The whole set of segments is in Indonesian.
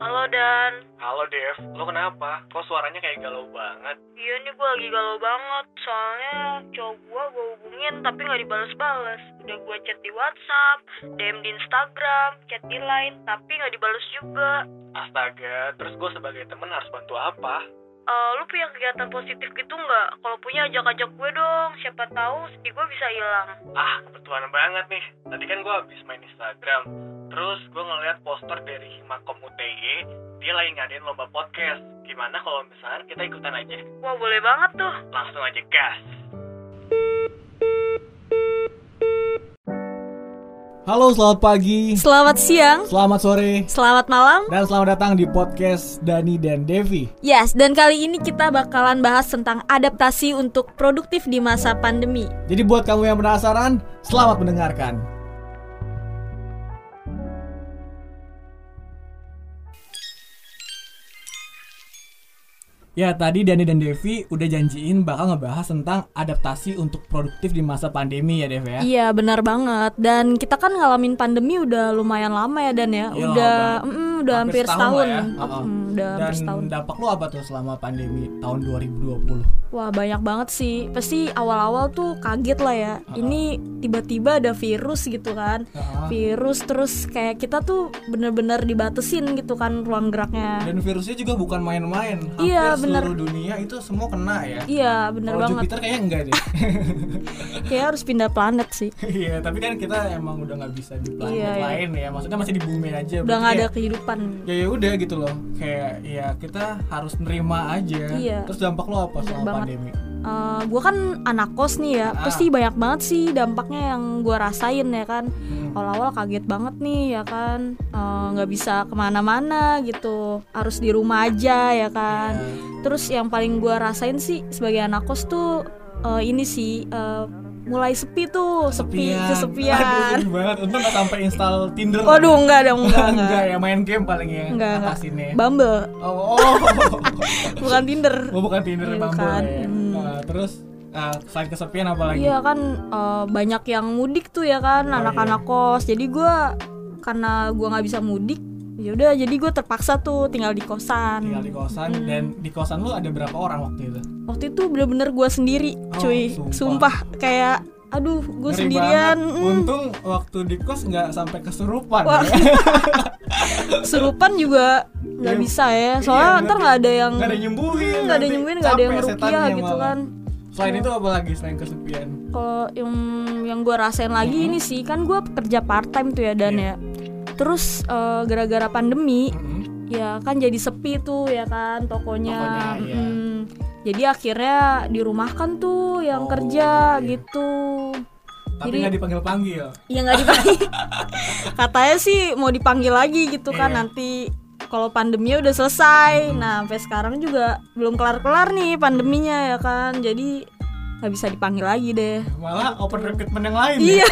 Halo Dan, Halo Dev, lo kenapa? Kok suaranya kayak galau banget? iya nih gue lagi galau banget Soalnya cowok gue gue hubungin tapi gak dibales-bales Udah gue chat di Whatsapp, DM di Instagram, chat di Line tapi gak dibales juga Astaga, terus gue sebagai temen harus bantu apa? Eh, Lu punya kegiatan positif gitu nggak? Kalau punya ajak-ajak gue dong, siapa tahu sedih gue bisa hilang Ah, kebetulan banget nih. Tadi kan gue habis main Instagram. Terus gue ngeliat poster dari Himakom UTY, dia lagi ngadain lomba podcast. Gimana kalau misalnya kita ikutan aja? Wah boleh banget tuh Langsung aja gas. Halo, selamat pagi, Selamat siang, selamat sore, selamat malam. dan selamat datang di podcast Dani dan Devi. Yes, dan kali ini kita bakalan bahas tentang adaptasi untuk produktif di masa pandemi. Jadi buat kamu yang penasaran, selamat mendengarkan. Ya, tadi Dani dan Devi udah janjiin bakal ngebahas tentang adaptasi untuk produktif di masa pandemi ya, Dev ya. Iya, benar banget. Dan kita kan ngalamin pandemi udah lumayan lama ya Dan ya. Iya, udah lama banget. mm, udah hampir, setahun. lah ya. Heeh. Mm, udah hampir setahun. Dan dampak lu apa tuh selama pandemi tahun 2020? Wah, banyak banget sih. Pasti awal-awal tuh kaget lah ya. Ini tiba-tiba ada virus gitu kan. Heeh. Virus terus kayak kita tuh bener-bener dibatesin gitu kan ruang geraknya. Dan virusnya juga bukan main-main. Hampir Iya, bener. seluruh dunia itu semua kena ya. Iya, bener Kalau banget. Jupiter kayaknya enggak deh. Kayak harus pindah planet sih. Iya, tapi kan kita emang udah nggak bisa di planet Iya, iya. lain ya. Maksudnya masih di bumi aja. Udah nggak ada Berarti kehidupan. kayak, Ya ya udah gitu loh. Kayak ya kita harus nerima aja. Iya. Terus dampak lo apa Bener selama banget. pandemi? Eh, gue kan anak kos nih ya, Ah. pasti banyak banget sih dampaknya yang gue rasain ya kan. Hmm. Awal-awal kaget banget nih ya kan, Eh, nggak bisa kemana-mana gitu, harus di rumah aja Iya. ya kan. Terus yang paling gue rasain sih sebagai anak kos tuh eh, ini sih eh, mulai sepi tuh, sepi Kesepian. Aduh, kesepian. sedih banget. Untung nggak sampai install Tinder. Waduh enggak dong, enggak enggak enggak. ya main game paling ya. Enggak, enggak. Atasinnya. Bumble, Oh, oh. bukan Tinder. Gua bukan Tinder Iya, Bumble bukan. ya. Hmm. Nah, terus ah, selain kesepian apa lagi? Iya kan eh, banyak yang mudik tuh ya kan Oh, anak-anak kos. Jadi gua karena gua nggak bisa mudik, ya udah jadi gua terpaksa tuh tinggal di kosan. Tinggal di kosan Hmm. dan di kosan lu ada berapa orang waktu itu? Waktu itu bener-bener gua sendiri, Oh, cuy. sumpah. Sumpah. kayak aduh gua Ngeri sendirian. banget. mm. Untung waktu di kos nggak sampai kesurupan. Wah. ya. Serupan juga nggak Iya, bisa ya. iya, Soalnya bener. ntar nggak ada yang Nggak ada yang nyembuhin. nggak ada nanti yang nyembuhin, nggak ada yang capek rukiah setannya gitu malah. kan. Selain itu apa lagi selain kesepian? kalau yang yang gue rasain lagi ini sih kan gue pekerja part time tuh ya dan Hmm. Iya. ya terus eh, gara-gara pandemi Mm-mm. ya kan jadi sepi tuh ya kan tokonya, Tokonya, iya. Mm-mm. jadi akhirnya dirumahkan tuh yang Oh, kerja iya. gitu Tapi Jadi- nggak dipanggil panggil. ya nggak dipanggil katanya sih mau dipanggil lagi gitu kan Iya. Hmm. nanti kalau pandeminya udah selesai nah sampai sekarang juga belum kelar-kelar nih pandeminya ya kan jadi nggak bisa dipanggil lagi deh Malah open recruitment yang lain. ya. Iya.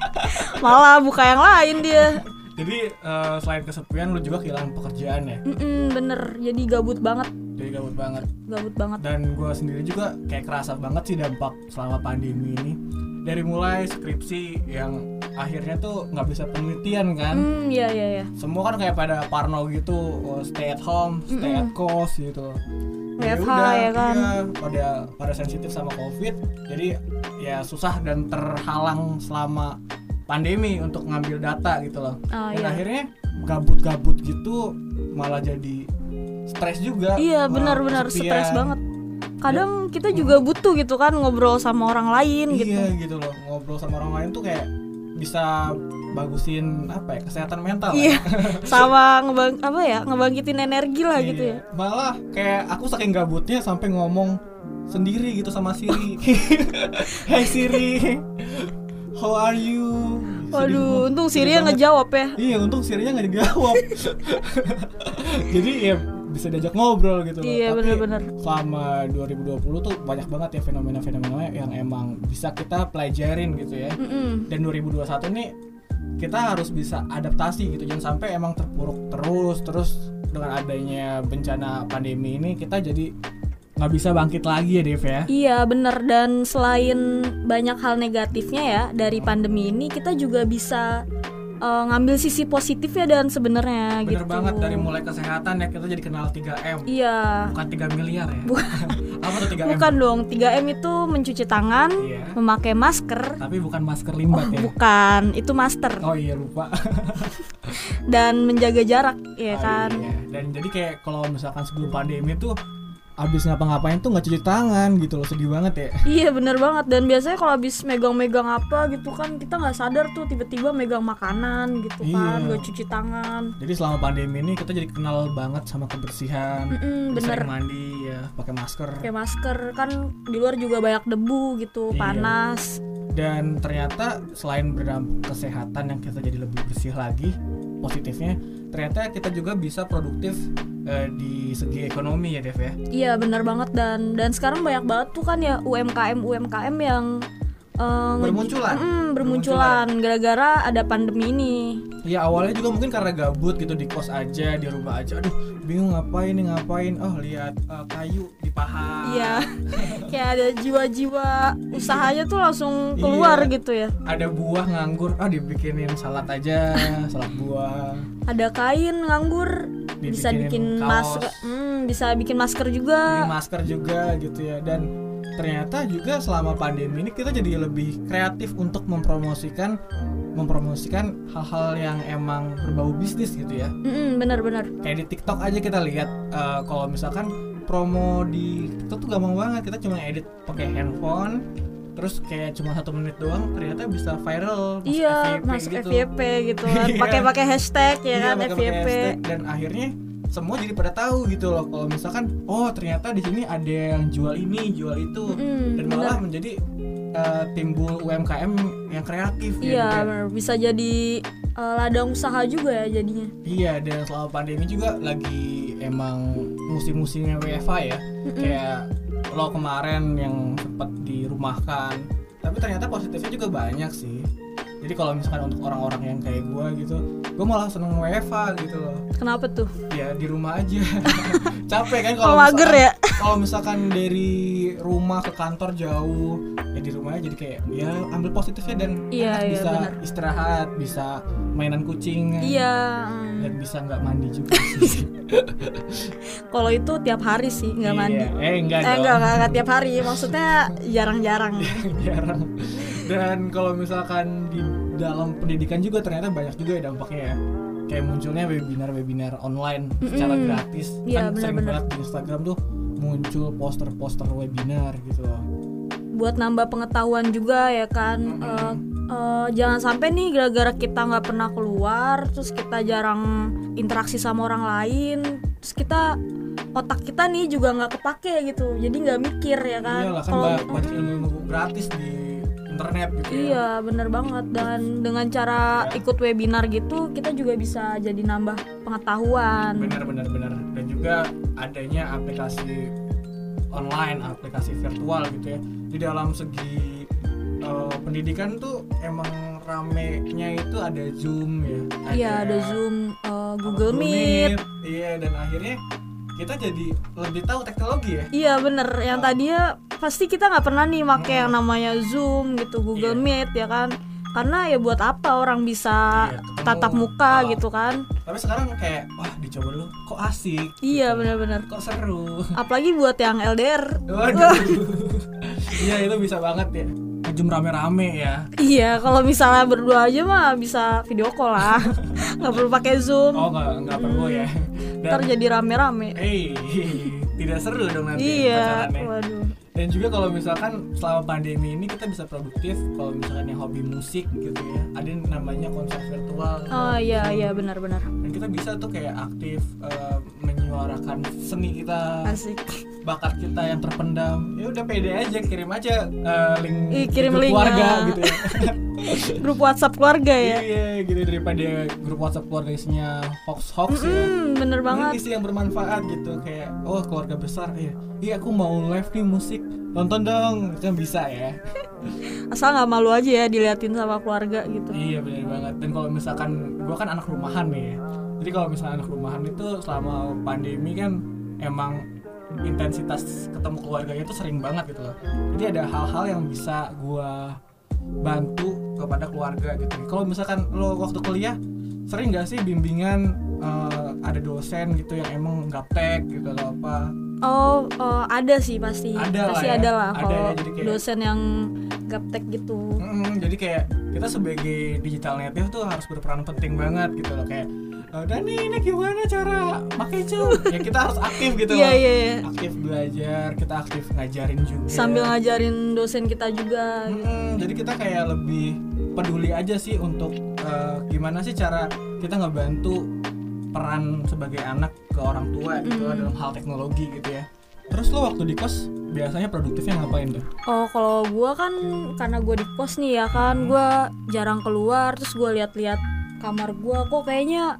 Malah buka yang lain dia. Jadi eh, selain kesepian lu juga kehilangan pekerjaan ya. Mm-mm, bener. Jadi gabut banget, Jadi gabut banget. gabut banget. Dan gue sendiri juga kayak kerasa banget sih dampak selama pandemi ini. Dari mulai skripsi yang akhirnya tuh nggak bisa penelitian kan. Hmm, iya iya iya. semua kan kayak pada parno gitu oh, stay at home stay at cost gitu Ya WFH udah, ya kan. iya, pada pada sensitif sama covid jadi ya susah dan terhalang selama pandemi untuk ngambil data gitu loh Ah, dan iya. akhirnya gabut-gabut gitu malah jadi stres juga Iya malah benar-benar kesepian. stres banget. Kadang kita juga butuh gitu kan ngobrol sama orang lain gitu. Ya. iya gitu loh ngobrol sama orang lain tuh kayak bisa bagusin apa ya kesehatan mental ya. Iya. sama ngebang apa ya ngebangkitin energi lah gitu Iya. ya. Malah kayak aku saking gabutnya sampai ngomong sendiri gitu sama Siri. hey Siri, how are you? Sedih banget. Waduh, untung Siri Sedih yang banget. ngejawab ya. Iya, untung Sirinya nggak dijawab. Jadi ya bisa diajak ngobrol gitu loh. Iya, Tapi bener-bener. Selama 2020 tuh banyak banget ya fenomena-fenomena yang emang bisa kita pelajarin gitu ya Mm-mm. dan 2021 nih kita harus bisa adaptasi gitu jangan sampai emang terpuruk terus terus dengan adanya bencana pandemi ini kita jadi nggak bisa bangkit lagi ya Dev ya Iya bener dan selain banyak hal negatifnya ya dari pandemi ini kita juga bisa eh, ngambil sisi positifnya dan sebenarnya Bener gitu. banget dari mulai kesehatan ya kita jadi kenal 3M. Iya. Bukan 3 miliar ya. Apa tuh 3M? Bukan dong, 3M itu mencuci tangan, Iya. memakai masker. Tapi bukan masker limbat ya. Bukan, itu master Oh iya lupa. dan menjaga jarak Oh, ya kan. iya. Dan jadi kayak kalau misalkan sebelum pandemi tuh abis ngapa-ngapain tuh nggak cuci tangan gitu loh sedih banget ya. Iya bener banget dan biasanya kalau habis megang-megang apa gitu kan kita nggak sadar tuh tiba-tiba megang makanan gitu kan Iya. nggak cuci tangan. Jadi selama pandemi ini kita jadi kenal banget sama kebersihan. Mm-mm, Terus bener sering mandi ya, pakai masker. pakai masker kan di luar juga banyak debu gitu Iya. panas. Dan ternyata selain berdampak kesehatan yang kita jadi lebih bersih lagi, positifnya ternyata kita juga bisa produktif eh, di segi ekonomi ya Dev ya. Iya bener banget dan dan sekarang banyak banget tuh kan ya UMKM UMKM yang eh, nge- Bermunculan. Mm, bermunculan gara-gara ada pandemi ini. Ya awalnya juga mungkin karena gabut gitu di kos aja, di rumah aja. Aduh, bingung ngapain nih ngapain. Oh, lihat eh, kayu di paha. Iya kayak ada jiwa-jiwa usahanya tuh langsung keluar Iya. gitu ya. Ada buah nganggur. Ah, dibikinin salad aja, salad buah. ada kain nganggur Dibikinin bisa bikin kaos. masker hmm, bisa bikin masker Beli juga masker juga gitu ya. Dan ternyata juga selama pandemi ini kita jadi lebih kreatif untuk mempromosikan mempromosikan hal-hal yang emang berbau bisnis gitu ya. Mm-mm, bener-bener kayak di TikTok aja kita lihat eh, kalau misalkan promo di TikTok tuh gampang banget kita cuma edit pakai Hmm. handphone terus kayak cuma satu menit doang ternyata bisa viral masuk iya FYP masuk FYP gitu kan Iya. pakai pakai hashtag ya Iya, kan pakai- pakai FYP hashtag. dan akhirnya semua jadi pada tahu gitu loh kalau misalkan oh ternyata di sini ada yang jual ini jual itu Mm, dan bener. malah menjadi eh, timbul UMKM yang kreatif ya, iya gitu ya. bener. bisa jadi eh, ladang usaha juga ya jadinya Iya, dan selama pandemi juga lagi emang musim-musimnya WFH ya. Kayak lo kemarin yang sempat dirumahkan. Tapi ternyata positifnya juga banyak sih. Jadi kalau misalkan untuk orang-orang yang kayak gue gitu, gue malah seneng WFH gitu loh. kenapa tuh Ya di rumah aja. Capek kan kalau kalau mager misalkan, ya kalau misalkan dari rumah ke kantor jauh, ya di rumahnya jadi kayak ya ambil positifnya dan Iya, enak iya, bisa benar. istirahat, bisa mainan kucing. iya mm. Dan bisa nggak mandi juga sih. kalau itu tiap hari sih nggak mandi Iya. Eh enggak eh dong. enggak, enggak, enggak tiap hari maksudnya jarang-jarang Jarang. Dan kalau misalkan di dalam pendidikan juga ternyata banyak juga ya dampaknya ya. Kayak munculnya webinar-webinar online secara Mm-mm. gratis. Iya, kan sering benar-benar. banget di Instagram tuh muncul poster-poster webinar gitu loh. buat nambah pengetahuan juga ya kan Eh, eh, jangan sampai nih gara-gara kita nggak pernah keluar terus kita jarang interaksi sama orang lain terus kita otak kita nih juga nggak kepake gitu jadi nggak mikir ya kan Iyalah kan Kalau- ba- banyak ilmu-ilmu gratis di internet gitu ya. iya bener banget dan dengan cara Iya. ikut webinar gitu kita juga bisa jadi nambah pengetahuan benar benar benar dan juga adanya aplikasi online aplikasi virtual gitu ya di dalam segi eh, pendidikan tuh emang ramenya itu ada zoom ya iya ada zoom eh, apa, Google Meet iya dan akhirnya kita jadi lebih tahu teknologi ya Iya bener, yang tadinya pasti kita nggak pernah nih make Hmm. yang namanya Zoom gitu, Google Iya. Meet ya kan Karena ya buat apa orang bisa Iya, ketemu. tatap muka Ah. gitu kan tapi sekarang kayak wah dicoba dulu kok asik Iya gitu. bener-bener kok seru Apalagi buat yang LDR waduh iya itu bisa banget ya zoom rame-rame ya Iya kalau misalnya berdua aja mah bisa video call lah nggak perlu pakai Zoom oh Iya, nggak nggak perlu ya Dan- Ntar jadi rame-rame Hey, tidak seru dong nanti Iya, pacarannya. waduh Dan juga kalau misalkan selama pandemi ini kita bisa produktif kalau misalkan yang hobi musik gitu ya. Ada yang namanya konser virtual. Oh iya, iya benar-benar Dan kita bisa tuh kayak aktif eh, menyuarakan seni kita, Asik bakat kita yang terpendam. Ya udah pede aja kirim aja eh, link Ih, kirim grup link, keluarga ah. gitu ya. Grup WhatsApp keluarga Iya, ya gitu daripada grup WhatsApp keluarga isinya hoax-hoax ya. Hmm, Ini bener banget isi yang bermanfaat gitu kayak oh keluarga besar iya iya aku mau live nih musik nonton dong kan bisa ya Asal nggak malu aja ya diliatin sama keluarga gitu iya benar banget dan kalau misalkan gua kan anak rumahan nih ya jadi kalau misalkan anak rumahan itu selama pandemi kan emang intensitas ketemu keluarganya itu sering banget gitu loh jadi ada hal-hal yang bisa gua bantu kepada keluarga gitu kalau misalkan lo waktu kuliah sering nggak sih bimbingan eh, ada dosen gitu yang emang gaptek gitu atau apa Oh, eh, ada sih pasti. Ada lah pasti ya. ada lah Ada kalau ya, jadi kayak- dosen yang gaptek gitu. Mm, jadi kayak kita sebagai digital native tuh harus berperan penting banget gitu loh kayak "Eh, Dani ini gimana cara pakai cu ya kita harus aktif gitu Iya, loh iya. iya. aktif belajar kita aktif ngajarin juga Sambil ngajarin dosen kita juga. Mm, jadi kita kayak lebih peduli aja sih untuk eh, gimana sih cara kita ngebantu peran sebagai anak ke orang tua gitu Mm. dalam hal teknologi gitu ya terus lo waktu di kos biasanya produktifnya ngapain tuh Oh, kalau gua kan karena gua di kos nih ya kan, gua jarang keluar terus gua lihat-lihat kamar gua kok kayaknya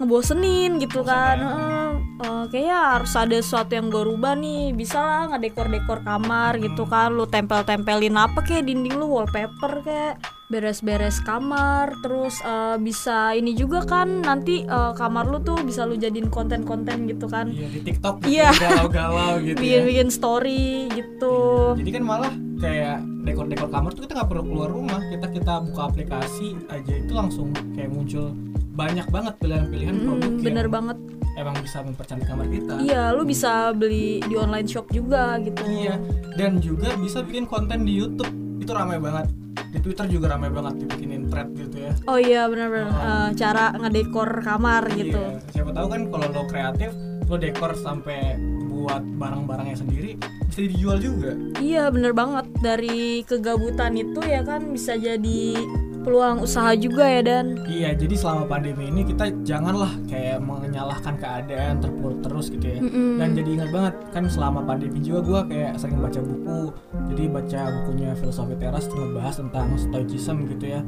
ngebosenin gitu kan. ya? Heeh. Eh, kayaknya harus ada sesuatu yang gua rubah nih. Bisa lah ngedekor-dekor kamar gitu Hmm. kan. Lu tempel-tempelin apa kayak dinding lu wallpaper kayak beres-beres kamar terus eh, bisa ini juga kan nanti eh, kamar lu tuh bisa lu jadiin konten-konten gitu kan. iya di TikTok gitu, Iya. galau-galau gitu ya. Bikin-bikin story gitu. Jadi kan malah kayak dekor-dekor kamar tuh kita nggak perlu keluar rumah, kita kita buka aplikasi aja itu langsung kayak muncul banyak banget pilihan-pilihan produk Mm, yang bener banget emang bisa mempercantik kamar kita. Iya, lu bisa beli di online shop juga gitu. Iya. Dan juga bisa bikin konten di YouTube itu ramai banget. Di Twitter juga ramai banget dibikinin thread gitu ya. Oh iya benar-benar Eh, cara ngedekor kamar gitu. Ah. Iya. Siapa tahu kan kalau lo kreatif, lo dekor sampai buat barang-barangnya sendiri bisa dijual juga. Iya, bener banget. Dari kegabutan itu ya kan bisa jadi peluang usaha juga ya dan. Iya, jadi selama pandemi ini kita janganlah kayak menyalahkan keadaan terpuruk terus gitu ya. Mm-mm. Dan jadi ingat banget kan selama pandemi juga gue kayak sering baca buku. Jadi baca bukunya filosofi teras tuh ngebahas tentang stoicism gitu ya.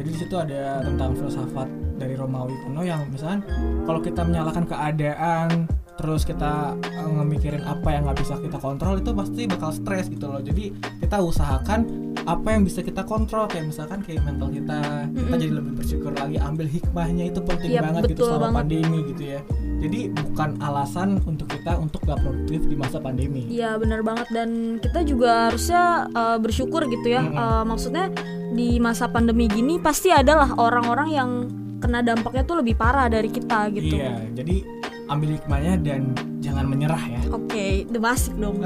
Jadi di situ ada tentang filsafat dari Romawi kuno yang misalkan kalau kita menyalahkan keadaan terus kita eh, ngemikirin apa yang nggak bisa kita kontrol itu pasti bakal stres gitu loh. Jadi kita usahakan apa yang bisa kita kontrol kayak misalkan kayak mental kita kita Mm-mm. jadi lebih bersyukur lagi ambil hikmahnya itu penting Yap, banget gitu betul selama banget. pandemi gitu ya jadi bukan alasan untuk kita untuk gak produktif di masa pandemi Iya benar banget dan kita juga harusnya eh, bersyukur gitu ya. Mm-mm. Eh, maksudnya di masa pandemi gini pasti adalah orang-orang yang kena dampaknya tuh lebih parah dari kita gitu. iya jadi ambil hikmahnya dan jangan menyerah ya Oke, demasik dong.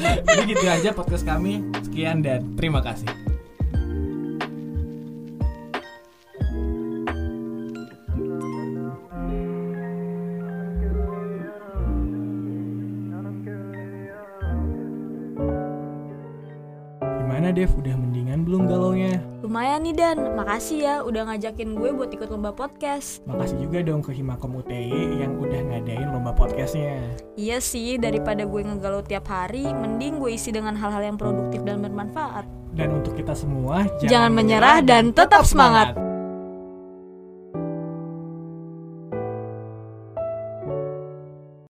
jadi gitu aja podcast kami sekian dan terima kasih Gimana Dev, udah mendingan belum galaunya? Lumayan nih Dan, makasih ya udah ngajakin gue buat ikut lomba podcast. Makasih juga dong ke Himakom UTI yang udah ngadain lomba podcastnya. Iya sih, daripada gue ngegalau tiap hari, mending gue isi dengan hal-hal yang produktif dan bermanfaat. Dan untuk kita semua, Jangan menyerah dan tetap semangat.